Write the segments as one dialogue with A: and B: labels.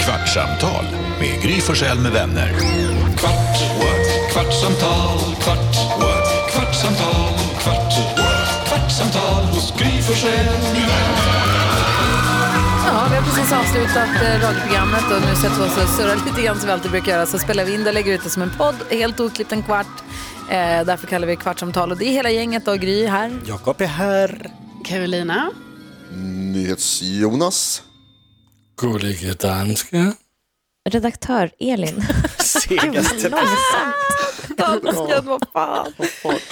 A: Kvartsamtal med Gry Forssell med vänner. Kvart, what? kvartsamtal, kvart, what? kvartsamtal, kvart, what? kvartsamtal hos Gry Forssell med vänner.
B: Ja, vi har precis avslutat eh, radioprogrammet och nu sätter vi oss och surrar lite grann som vi alltid brukar göra. Så spelar vi in det och lägger ut det som en podd, helt oklippt en kvart. Eh, därför kallar vi det Kvartsamtal och det är hela gänget och Gry här.
C: Jakob är här.
D: Carolina.
E: NyhetsJonas.
F: Gullige danske.
G: Redaktör Elin.
C: Segaste.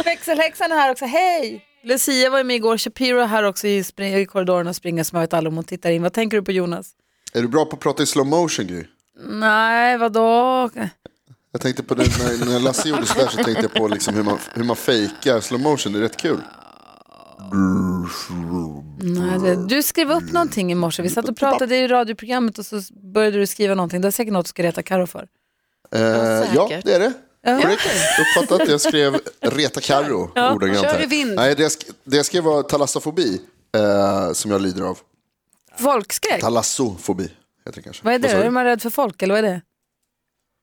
B: Växelhäxan är här också, hej! Lucia var ju med igår, Shapiro är här också i, spring- i korridoren och springer som har ett allom och tittar in. Vad tänker du på Jonas?
E: Är du bra på att prata i slow motion Gry?
B: Nej, vadå?
E: Jag tänkte på det när, när Lasse gjorde sådär så tänkte jag på liksom hur, man, hur man fejkar slow motion. Det är rätt kul.
B: Nej, det- du skrev upp någonting i morse. Vi satt och pratade i radioprogrammet och så började du skriva någonting. Det är säkert något du ska reta Karo för.
E: Eh, ja, det är det. Korrekt uppfattat. Jag skrev reta Carro ordagrant.
D: Kör i
E: här.
D: vind.
E: Nej, det jag, sk- det jag skrev var talassofobi eh, som jag lider av.
B: Folkskräck?
E: Talassofobi heter det kanske.
B: Vad är det?
E: sa du?
B: Är man rädd för folk eller vad är det?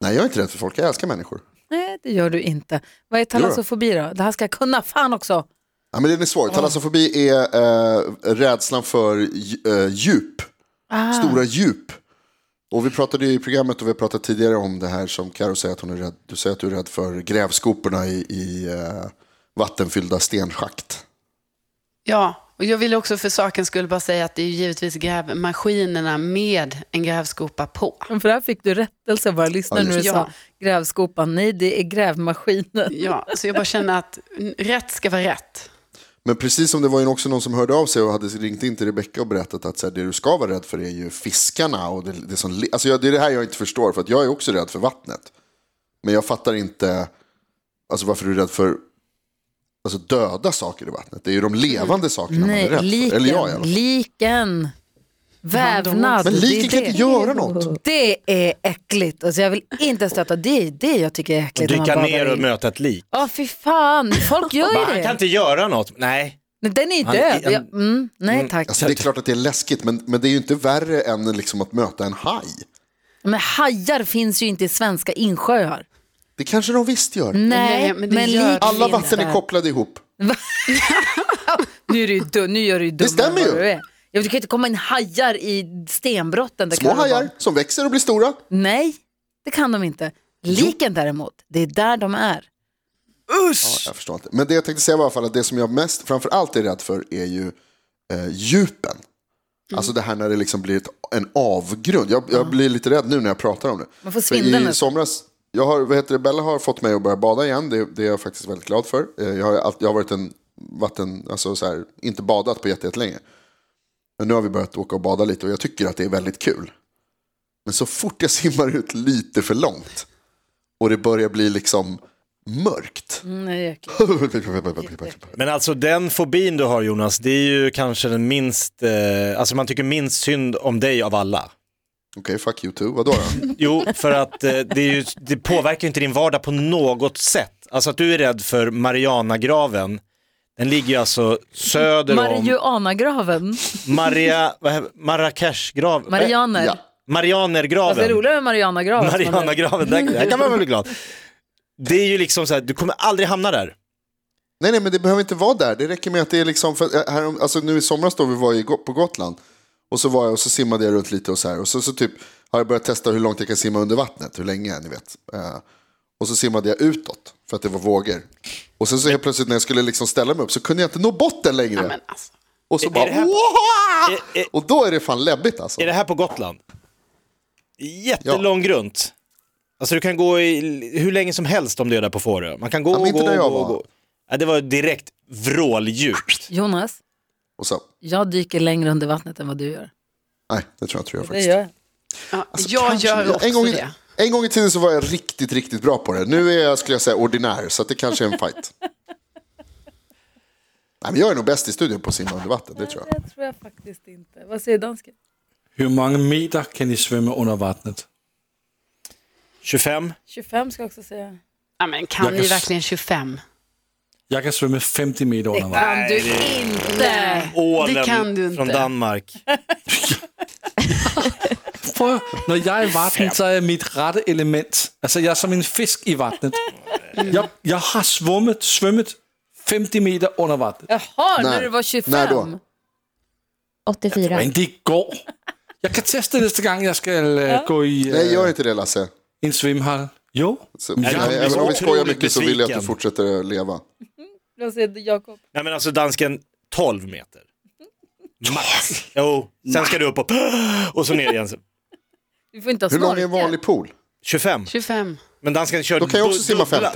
E: Nej, jag är inte rädd för folk. Jag älskar människor.
B: Nej, det gör du inte. Vad är talassofobi då? Det här ska jag kunna. Fan också!
E: Ja, men den är svår. Talassofobi är eh, rädslan för dj- eh, djup. Stora djup. Och vi pratade ju i programmet och vi har pratat tidigare om det här som Karo säger att hon är rädd. Du säger att du är rädd för grävskoporna i, i eh, vattenfyllda stenschakt.
D: Ja, och jag vill också för sakens skull bara säga att det är ju givetvis grävmaskinerna med en grävskopa på.
B: För där fick du rättelse av våra lyssnare
E: Ja,
B: när
E: just
B: du
D: det.
B: sa
D: Ja.
B: grävskopan. Nej, det är grävmaskinen.
D: Ja, så jag bara känner att rätt ska vara rätt.
E: Men precis som det var ju också någon som hörde av sig och hade ringt in till Rebecka och berättat att så här, det du ska vara rädd för är ju fiskarna. Och det, det, som, le- alltså, jag, det är det här jag inte förstår för att jag är också rädd för vattnet. Men jag fattar inte alltså, varför du är rädd för alltså, döda saker i vattnet. Det är ju de levande sakerna man är
B: Mm. Nej,
E: rädd för. Eller jag i
B: liken.
E: alla fall.
B: Liken. Vävnad.
E: Men
B: det Mm. är
E: liken kan inte
B: det.
E: göra något.
B: Det är äckligt. Alltså jag vill inte stöta. Det är det jag tycker är äckligt. när man
C: Dyka
B: badar
C: ner och
B: i.
C: möta ett lik.
B: Ja, fy fan. Folk
C: Bara,
B: gör ju
C: Han kan
B: det.
C: inte göra något. Nej,
B: Nej, Den är ju
C: Han-
B: död.
C: en-
B: Ja, mm, nej, tack.
E: Alltså, det är klart att det är läskigt men, men det är ju inte värre än liksom, att möta en haj.
B: Men hajar finns ju inte i svenska insjöar.
E: Det kanske de visst gör.
B: Nej, men,
D: men det gör-
B: lik
E: Alla
B: finns
E: vatten
B: där.
E: är kopplade ihop.
B: Nu, är du, ju dum- nu gör du ju dummare
E: stämmer
B: än vad
E: ju.
B: Du, är. Ja, du kan ju inte komma in hajar i stenbrotten. Det
E: Små
B: kan de
E: hajar
B: vara.
E: som växer och blir stora.
B: Nej, det kan de inte. Liken däremot, det är där de är.
E: Ja, jag förstår inte. Men det jag tänkte säga var i alla fall att det som jag mest framför allt är rädd för är ju eh, djupen.
B: Mm.
E: Alltså det här när det liksom blir ett, en avgrund. Jag, jag blir lite rädd nu när jag pratar om det.
B: Man får
E: För
B: svindel
E: I
B: nästan.
E: somras, jag har, vad heter det, Bella har fått mig att börja bada igen. Det, det är jag faktiskt väldigt glad för. Eh, Jag har, allt- jag har varit en vatten, alltså så här, inte badat på jätte- jättelänge. Men nu har vi börjat åka och bada lite och jag tycker att det är väldigt kul. Men så fort jag simmar ut lite för långt och det börjar bli liksom mörkt.
B: Mm, det är äckligt.
C: men alltså den fobin du har Jonas, det är ju kanske den minst, eh, alltså man tycker minst synd om dig av alla.
E: Okej, fuck you too. Vadå då?
C: Jo, för att eh, det, är ju, det påverkar ju inte din vardag på något sätt. Alltså att du är rädd för Marianagraven, den ligger ju alltså söder om
B: Marijuanagraven,
C: Maria, vad he- Marrakeshgraven.
B: Marianer.
E: Ja.
C: Marianergraven.
B: Alltså, det är roligare med Marianagraven.
C: Marianagraven, där, där kan man väl bli glad. Det är ju liksom så här, du kommer aldrig hamna där.
E: Nej, nej, men det behöver inte vara där. Det räcker med att det är liksom, för, här, alltså nu i somras då vi var i, på Gotland och så var jag och så simmade jag runt lite och så här och så, så typ har jag börjat testa hur långt jag kan simma under vattnet, hur länge, ni vet. Eh, och så simmade jag utåt för att det var vågor. Och sen så helt plötsligt när jag skulle liksom ställa mig upp så kunde jag inte nå botten längre.
D: Men alltså,
E: och så
C: är
E: bara,
C: det här-
E: "Wow!"
C: Är, är,
E: Och då är det fan läbbigt alltså.
C: är det här på Gotland? Jättelång grunt. Alltså du kan gå i, hur länge som helst om du är där på Fårö. Man kan gå
E: men
C: och
E: inte
C: gå
E: där jag
C: och gå.
E: var.
C: gå. Ja, det var direkt vråldjupt.
B: Jonas,
E: Och så,
B: jag dyker längre under vattnet än vad du gör.
E: nej, det tror jag inte jag
B: Det
E: faktiskt.
B: gör jag.
D: ja, jag
E: Kanske.
D: gör också
E: en gång, i-
D: det.
E: En gång i tiden så var jag riktigt, riktigt bra på det. Nu är jag, skulle jag säga, ordinär, så att det kanske är en fight. Nej, men jag är nog bäst i studion på att simma under vatten, det tror jag.
B: Det tror jag faktiskt inte. Vad säger dansken?
F: Hur många meter kan ni svämma under vattnet?
C: 25.
B: 25 ska jag också säga.
D: Ja, men kan
F: Jag
D: ni
F: kan-
D: verkligen 25?
F: Jag kan svämma 50 meter under
B: Kan
F: vattnet.
B: du inte?
C: Ålen
D: Det kan du inte.
C: från Danmark.
F: Prøv, Når jeg er i vatten, så er jeg mit rette element. Altså, jeg er som en fisk i vattnet. Jeg, jeg har svummet, svømmet 50 meter under vattnet.
B: Jaha, när
E: När?
B: du var 25?
E: När då?
G: 84.
F: Men det går. Jeg kan teste næste gang, jeg skal øh, gå i øh,
E: Nej, gör inte det Lasse.
F: en svømmehall. Jo,
E: Så,
F: Nej, jag
E: nej,
F: blir
E: även
F: så
E: om vi skojar
C: otroligt
E: mycket så vill jag att
C: besviken.
E: du fortsätter leva.
B: Jag ser Jakob.
C: Nej men alltså dansken, 12 meter. Max. Jo, sen ska du upp och, och så ner igen.
B: Vi får inte ha
E: Hur lång är
B: snorkel.
E: en vanlig pool?
C: 25.
D: 25.
C: Men dansken körde
E: Då kan jag också
C: du-
E: simma
C: dubbla.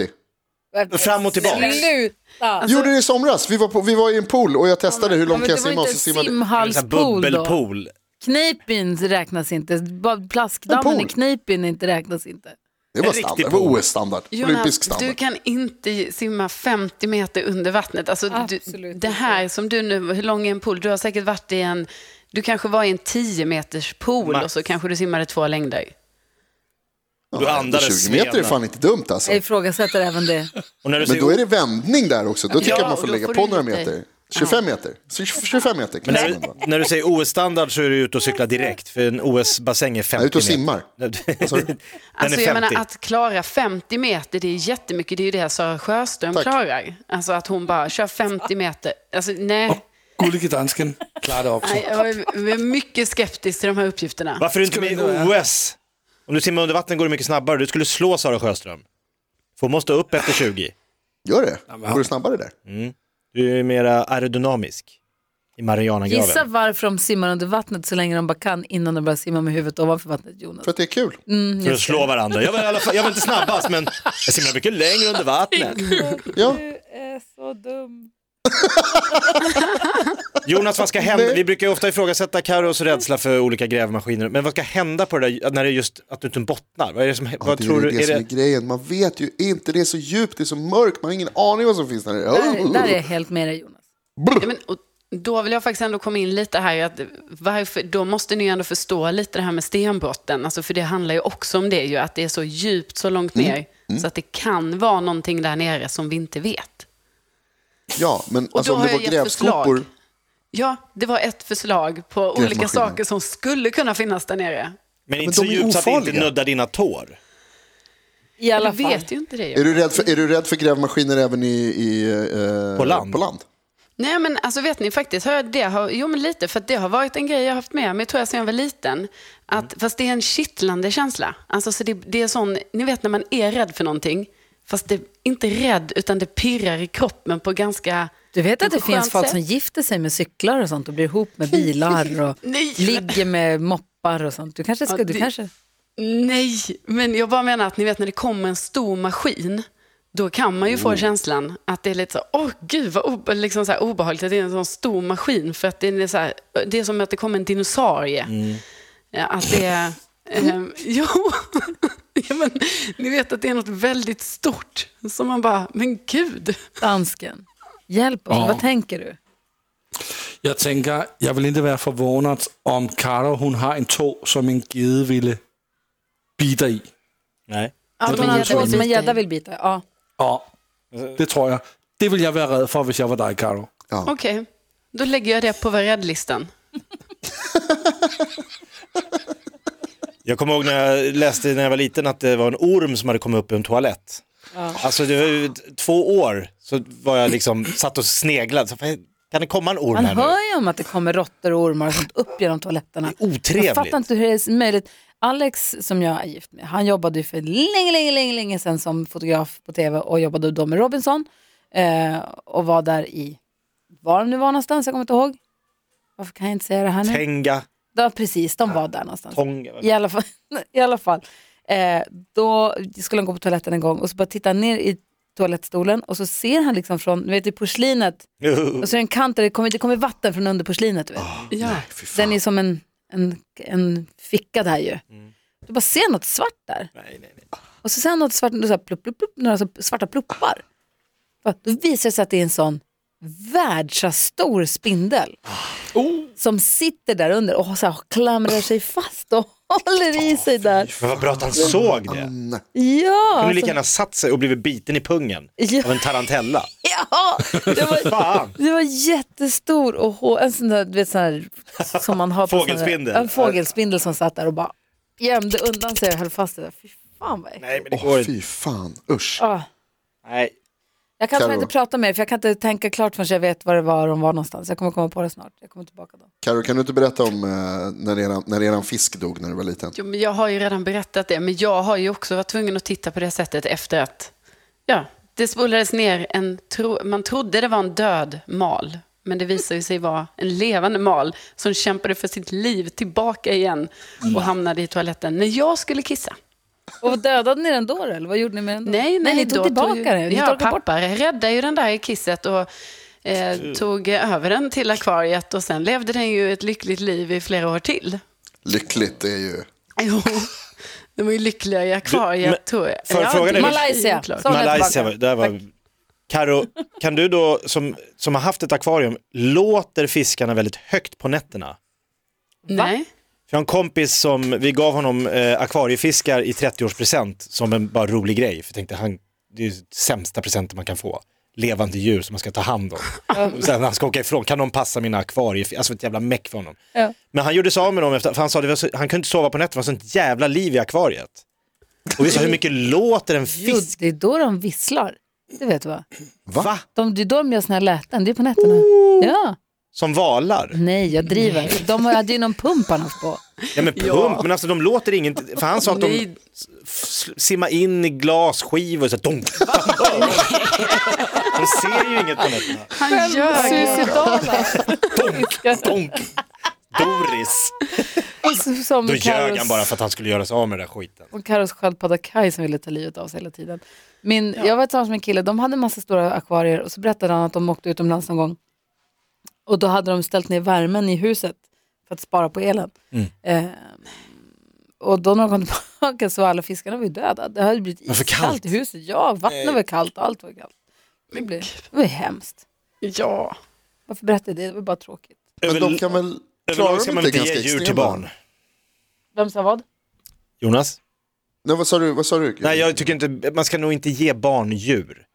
E: 50.
C: Fram och tillbaka.
B: Sluta!
E: Gjorde det i somras. Vi var, på, vi var i en pool och jag testade hur
B: Alltså- Ja,
E: långt
B: men
E: kan jag
B: det
E: simma.
B: var
E: Och
B: inte
E: så
B: en
E: simmade...
C: En sån här
B: simhallspool då.
C: bubbelpool.
B: Knipin räknas inte. Bara
E: En
B: Plaskdammen i
E: pool.
B: Knipin inte räknas inte.
E: Det var
C: En riktig
E: standard. Det var
C: pool.
E: OS-standard. Olympisk
D: du
E: standard.
D: kan inte simma 50 meter under vattnet. Alltså, du,
B: Absolut
D: det här som du nu, hur lång är en pool? Du har säkert varit i en, du kanske var i en 10 meters pool
C: Max.
D: och så kanske du simmade två längder.
C: Du andades
E: 20 meter är
C: sveda.
E: fan inte dumt alltså.
B: Jag ifrågasätter även det.
C: Och när du
E: Men
C: säger,
E: då är det vändning där också. Då tycker
D: Ja,
E: jag man
D: och
E: får
D: då
E: lägga
D: får
E: på
D: du
E: några
D: lite.
E: meter. 25 meter. Så 25 meter kan
C: men
E: jag
C: när,
E: simma.
C: du, när du säger OS-standard så är du ute och cyklar direkt. För en OS-bassäng är 50
E: Jag är ute och
C: meter.
E: simmar.
C: Den
D: Alltså,
C: är
D: jag
C: 50.
D: menar, att klara 50 meter, det är jättemycket. Det är ju det här Sara Sjöström
E: Tack.
D: klarar. Alltså att hon bara kör 50 meter. Alltså, nej,
F: gullige dansken klarer det også.
D: nej, jag är- jag är mycket skeptisk till de här uppgifterna.
C: Varför är du inte
F: Skulle
C: med i
F: nog-
C: OS? Om du simmar under vatten går det mycket snabbare. Du skulle slå Sara Sjöström. För hon måste upp efter 20.
E: Gör det.
F: men-
E: Går det snabbare där?
C: Du är mera aerodynamisk i
B: Gissa
C: Marianagraven.
B: varför de simmar under vattnet så länge de bara kan innan de börjar simma med huvudet ovanför vattnet, Jonas.
E: För att det är kul.
D: Mm.
C: För att slå varandra. Jag var, i alla fall, jag var inte snabbast, men jag simmar mycket längre under vattnet.
E: Ja.
C: Jonas, vad ska hända? Vi brukar ju ofta ifrågasätta Carros rädsla för olika grävmaskiner. Men vad ska hända på det där när det är just att du inte bottnar? Vad, är det som,
E: Ja,
C: vad
E: det
C: tror
E: är
C: du?
E: ju det
C: Är
E: som är
C: det,
E: grejen. Man vet ju inte. Det är så djupt, det är så mörkt. Man har ingen aning vad som finns där Oh!
B: Där, där är jag
E: nere.
B: helt med dig, Jonas.
D: Ja, men, och då vill jag faktiskt ändå komma in lite här. Att varför, då måste ni ju ändå förstå lite det här med stenbrotten. Alltså, för det handlar ju också om det, ju, att det är så djupt så långt
C: Mm.
D: ner. Så att det kan vara någonting där nere som vi inte vet.
E: Ja, men
D: Och
E: alltså,
D: då
E: om
D: har
E: det
D: jag
E: var
D: gett förslag.
E: grävskopor.
D: Ja, det var ett förslag på olika
E: Grävmaskinen.
D: saker som skulle kunna finnas där nere.
C: men inte
E: Men
C: så
E: de är
C: djupt så att det inte
E: ofarliga.
C: nuddar dina tår.
B: I alla
D: Du
B: fall.
D: vet ju inte det. Ju.
E: Är du, rädd för, är du rädd för grävmaskiner även i, i, eh,
C: På land?
E: På land?
D: Nej, men alltså vet ni faktiskt, har jag, det har, jo men lite, för att det har varit en grej jag har haft med mig, tror jag, sedan jag var liten. Att,
B: Mm.
D: Fast det är en kittlande känsla. Alltså, så det, det är sån, ni vet när man är rädd för någonting, fast det, inte rädd, utan det pirrar i kroppen på ganska...
B: Du vet att det
D: Skönt
B: finns folk
D: sätt.
B: som gifter sig med cyklar och sånt och blir ihop med bilar och
D: Nej.
B: ligger med moppar och sånt. Du kanske ska,
D: Ja,
B: du
D: det-
B: kanske...
D: Nej, men jag bara menar att ni vet när det kommer en stor maskin, då kan man ju få känslan att det är lite så, åh gud vad obe, liksom så här obehagligt att det är en sån stor maskin. För att det är, så här, det är som att det kommer en dinosaurie. Ja, Att det är, ehm, jo, ja, men, ni vet att det är något väldigt stort. Som man bara, men gud.
B: Dansken, hjälp oss.
F: Ja.
B: Vad tänker du?
F: Jeg tænker, jeg vil ikke være forvånet, om Caro hun har en tå, som en gede ville bide dig i.
C: Nej.
D: Ja,
B: Hon har två som en
D: bita
B: gädda
D: i.
B: vill bita. Ja.
F: Og det tror jeg. Det vil jeg være red for, hvis jeg var dig, Caro.
D: Okej, då lägger jag det på vad rädd-listan.
C: Jag kommer ihåg när jag läste när jag var liten att det var en orm som hade kommit upp i en toalett. Alltså det var ju t- två år så var jag liksom satt och sneglade. Så, "Fan, kan det komma en orm
B: Man
C: här nu?
B: hör ju om att det kommer råttor och ormar och sånt upp genom toaletterna. Jag
C: Otrevligt.
B: fattar inte hur det är möjligt. Alex som jag är gift med, han jobbade ju för länge, länge, länge, länge sedan som fotograf på tv och jobbade då med Robinson eh, och var där i, var de nu var någonstans, jag kommer inte ihåg. Varför kan jag inte säga det här nu?
C: Tenga,
B: Ja, precis, de var där någonstans.
C: tång.
B: I alla fall. I alla fall. Eh, då skulle han gå på toaletten en gång och så bara titta ner i toalettstolen och så ser han liksom från, du vet i porslinet, och så är det en kant där det kommer, det kommer vatten från under porslinet. Du vet.
C: Ah,
D: Ja.
B: Den är som en, en, en ficka där ju.
C: Mm.
B: Du bara ser något svart där. Och så ser han något svart, så här, plupp, plupp, plupp, några så svarta pluppar. Va, Då visar det sig att det är en sån världsastor spindel.
C: Ah. Oh.
B: Som sitter där under och så här, klamrar sig fast och håller i sig där.
C: Men vad bra att han såg det.
B: Ja,
C: Ah, Kunde
B: alltså,
C: lika gärna satt sig och blivit biten i pungen
B: Ja.
C: av en tarantella.
B: ja, det var,
C: Fan.
B: det var jättestor och hå- en sån där, du vet, sån här, som man har på sån här-
C: Fågelspindel.
B: En fågelspindel som satt där och bara gömde undan sig och höll fast det där. Fy fan vad äckligt.
C: Nej, men det
E: Åh,
C: går inte.
E: fy fan. Usch.
B: Ah.
C: Nej.
B: Jag kan tyvärr
E: Karo.
B: inte prata mer för jag kan inte tänka klart förrän jag vet var det var de var någonstans. Jag kommer komma på det snart. Jag kommer tillbaka då.
E: Karo, kan du inte berätta om eh, när, eran, när eran fisk dog när du var liten?
D: Jo, men jag har ju redan berättat det, men jag har ju också varit tvungen att titta på det sättet efter att ja, det spolades ner en, tro, man trodde det var en död mal, men det visade ju sig vara en levande mal som kämpade för sitt liv tillbaka igen och
B: Mm.
D: hamnade i toaletten när jag skulle kissa.
B: Och dödade ni den då eller vad gjorde ni med den då?
D: Nej, nej,
B: ni tog
D: då
B: tillbaka
D: ju-
B: den. Ni
D: Ja,
B: torkade bort
D: pappa räddade ju den där i kisset och eh, tog över den till akvariet och sen levde den ju ett lyckligt liv i flera år till.
E: Lyckligt, det är ju...
D: Jo, de var ju lyckliga i akvariet,
C: Du, men-
D: tror jag.
C: får jag fråga dig?
B: Malaysia.
D: klart.
B: Så- Ta den
C: Malaysia,
B: tillbaka.
C: var- där var Karo, kan du då som, som har haft ett akvarium, låter fiskarna väldigt högt på nätterna?
D: Nej.
C: För jag har en kompis som, vi gav honom eh, akvariefiskar i 30-årspresent som en bara rolig grej. För jag tänkte, han, det är ju sämsta presenten man kan få. Levande djur som man ska ta hand om. Och Sen när han ska åka ifrån, kan någon passa mina akvariefiskar? Alltså ett jävla meck för honom.
B: Ja.
C: Men han gjorde sig av med dem, efter, för han sa att han kunde inte sova på nätterna, det var sånt jävla liv i akvariet. Och vi sa, hur mycket låter en
B: Jo,
C: fisk?
B: det är då de visslar. Det vet du va?
C: Va?
B: De, det är då de gör såna här läten. Det är på nätterna. Ja.
C: Som valar?
B: Nej, jag driver. De hade ju någon pump han haft på.
C: Ja men pump, men alltså de låter inget, för han sa att de
D: Nej.
C: s- simmar in i glasskivor och så här, dunk. De ser ju inget på nätterna.
D: Han ljög.
B: Suicidala.
C: Donk. Doris.
B: Som- Som
C: Då ljög han
B: Karos-
C: bara för att han skulle göra sig av med den där skiten.
B: Och Carros sköldpadda Kaj som ville ta livet av sig hela tiden. Min, Jag var tillsammans med en kille, de hade en massa stora akvarier och så berättade han att de åkte utomlands någon gång. Och då hade de ställt ner värmen i huset för att spara på elen.
C: Mm.
B: Eh, och då när de kom tillbaka så var alla fiskarna var ju döda. Det hade blivit
C: Varför
B: iskallt
C: kallt?
B: i huset. Ja, vattnet var kallt och allt var kallt. Det, blev, det var ju hemskt.
D: Ja.
B: Varför berättade jag det? Det var bara tråkigt.
E: Men de kan väl... Klarar
C: Överlag
E: de
C: ska man
E: inte
C: inte ge
E: ganska
C: djur
E: extrema?
C: till barn.
B: Vem sa vad?
C: Jonas?
E: Nej, vad sa du? Vad sa du?
C: Nej jag tycker inte, man ska nog inte ge barn djur.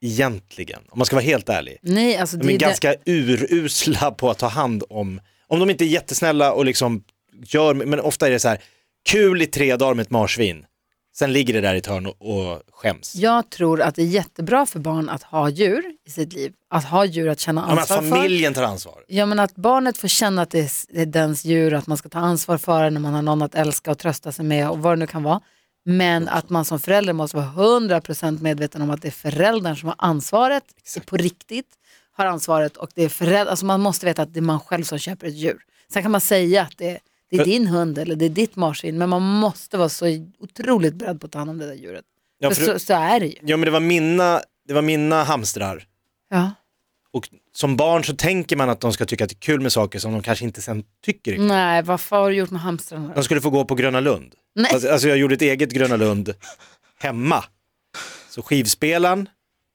C: Egentligen, om man ska vara helt ärlig.
B: Nej, alltså
C: De
B: det
C: är
B: är det-
C: ganska urusla på att ta hand om, om de inte är jättesnälla och liksom gör, men ofta är det så här, kul i tre dagar med ett marsvin, sen ligger det där i ett hörn och, och skäms.
B: Jag tror att det är jättebra för barn att ha djur i sitt liv. Att ha djur att känna
C: Ja, men att
B: ansvar för.
C: familjen tar ansvar.
B: Ja, men att barnet får känna att det är s- det är dens djur och att man ska ta ansvar för det när man har någon att älska och trösta sig med och vad det nu kan vara. Men att man som förälder måste vara 100% medveten om att det är föräldern som har ansvaret på riktigt. Har ansvaret och det är föräldrar, alltså man måste veta att det är man själv som köper ett djur. Sen kan man säga att det är, det är din hund eller det är ditt marsvin, men man måste vara så otroligt beredd på att ta hand om det där djuret.
C: Ja,
B: för
C: för-
B: så, så är det ju.
C: Ja men det var mina, det var mina hamstrar.
B: Ja.
C: Och som barn så tänker man att de ska tycka att det är kul med saker som de kanske inte sen tycker
E: Mm.
C: är kul.
B: Nej, vad fan har du gjort med hamstrarna?
C: De skulle få gå på Gröna Lund.
B: Nej.
C: Alltså, alltså jag gjorde ett eget Gröna Lund hemma. Så skivspelaren,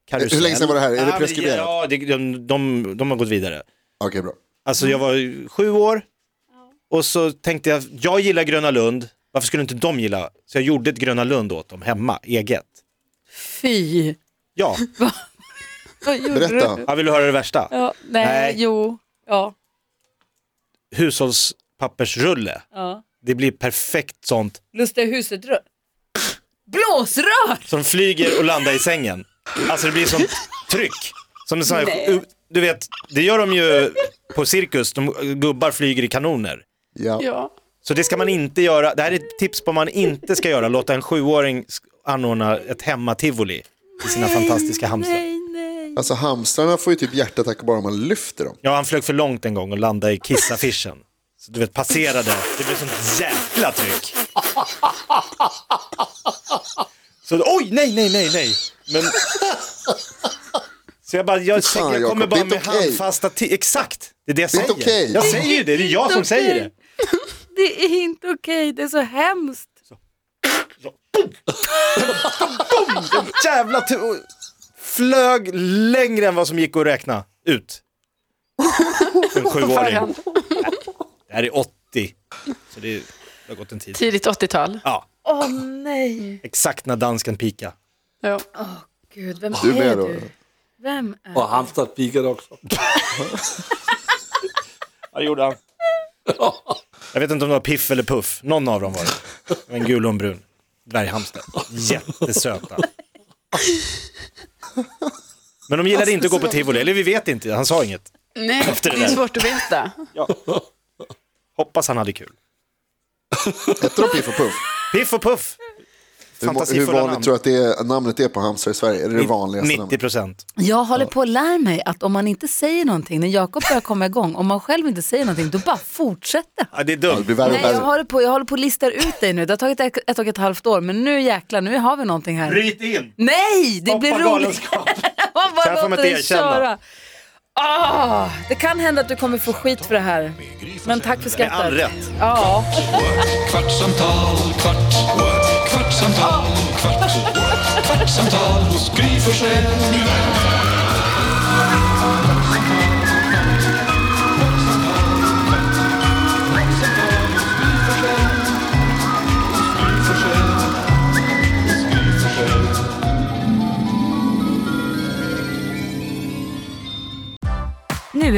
C: karusell.
E: Hur länge sedan var det här? Är det
C: Ja, men-
E: preskriberat?
C: Ja, det, de, de, de har gått vidare.
E: Okej, bra.
C: Alltså jag var ju sju år och så tänkte jag, jag gillar Gröna Lund, varför skulle inte de gilla? Så jag gjorde ett Gröna Lund åt dem hemma, eget.
B: Fy!
C: Ja,
B: Vad gjorde
E: Berätta.
B: du?
C: jag vill du höra det värsta?
B: Ja, nej,
C: Nej.
B: jo. Ja,
C: Hushållspappersrulle,
B: ja.
C: det blir perfekt sånt.
B: Lustiga huset rör. Blåsrör!
C: Så de flyger och landar i sängen. Alltså det blir sånt tryck. Som en sån här, du vet, det gör de ju på cirkus, de, gubbar flyger i kanoner.
E: Ja.
D: ja.
C: Så det ska man inte göra. Det här är ett tips på vad man inte ska göra. Låta en sjuåring sk- anordna ett hemmativoli i sina fantastiska hamstrar.
E: Alltså hamstrarna får ju typ hjärtattack bara om man lyfter dem.
C: Ja, han flög för långt en gång och landade i kissaffischen. Så du vet, passerade. Det blev sånt jäkla tryck. Så oj, nej, nej, nej, nej. Men... Så jag bara, jag,
E: Fan,
C: jag kommer
E: Jakob,
C: bara
E: det är
C: med
E: inte okej.
C: handfasta ti- Exakt, det är det jag
E: Det är
C: säger.
E: inte okej.
C: Jag säger ju det, det är jag som säger det.
B: Det är inte okej, det är så hemskt.
C: jävla tur. och Flög längre än vad som gick att räkna ut. En sjuåring. Det här är 80. Så det, är, det har gått en tid.
D: Tidigt 80-tal.
C: Ja,
B: Åh nej.
C: exakt när dansken pika.
D: Ja.
B: Gud, vem
E: Ah, Du är
B: är
E: med då?
B: du? Vem är
F: Och hamstrat pikat också.
C: Ja, det gjorde han. Jag vet inte om det var Piff eller Puff. Någon av dem var det. Det var En gul och en brun dvärghamster. Jättesöta. Men de gillade inte att gå på tivoli. Eller vi vet inte, han sa inget.
D: Nej,
C: Efter det
D: det är
C: där.
D: svårt att veta.
C: Hoppas han hade kul.
E: Hette de Piff och Puff?
C: Piff och Puff.
E: Hur, må- hur
C: Fantasifulla
E: vanligt
C: namn.
E: tror du att det är, namnet är på hamster i Sverige? Är det det vanligaste
C: 90
E: namnet?
C: procent.
B: Jag håller på att lära mig att om man inte säger någonting, när Jakob börjar komma igång, om man själv inte säger någonting, då bara fortsätter han.
C: Ja, det är
E: Det
C: dumt.
E: blir värre och
B: Nej, jag
E: värre.
B: håller på, jag håller på att lista ut dig nu. Det har tagit ett, ett och ett halvt år, men nu jäklar, nu har vi någonting här.
C: Bryt in.
B: Nej, det blir roligt. Man
C: Kan jag
B: bara
C: få
B: låter
C: mig att
B: dig
C: erkänna?
B: köra. Ah, det kan hända att du kommer få skit för det här. Men tack för skrattet.
C: all rätt.
B: Ja.
A: Kvartsamtal, kvart, what? kvartsamtal, kvart, what? kvartsamtal hos Gry Forssell med vänner.
H: Nu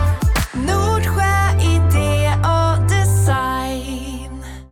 I: No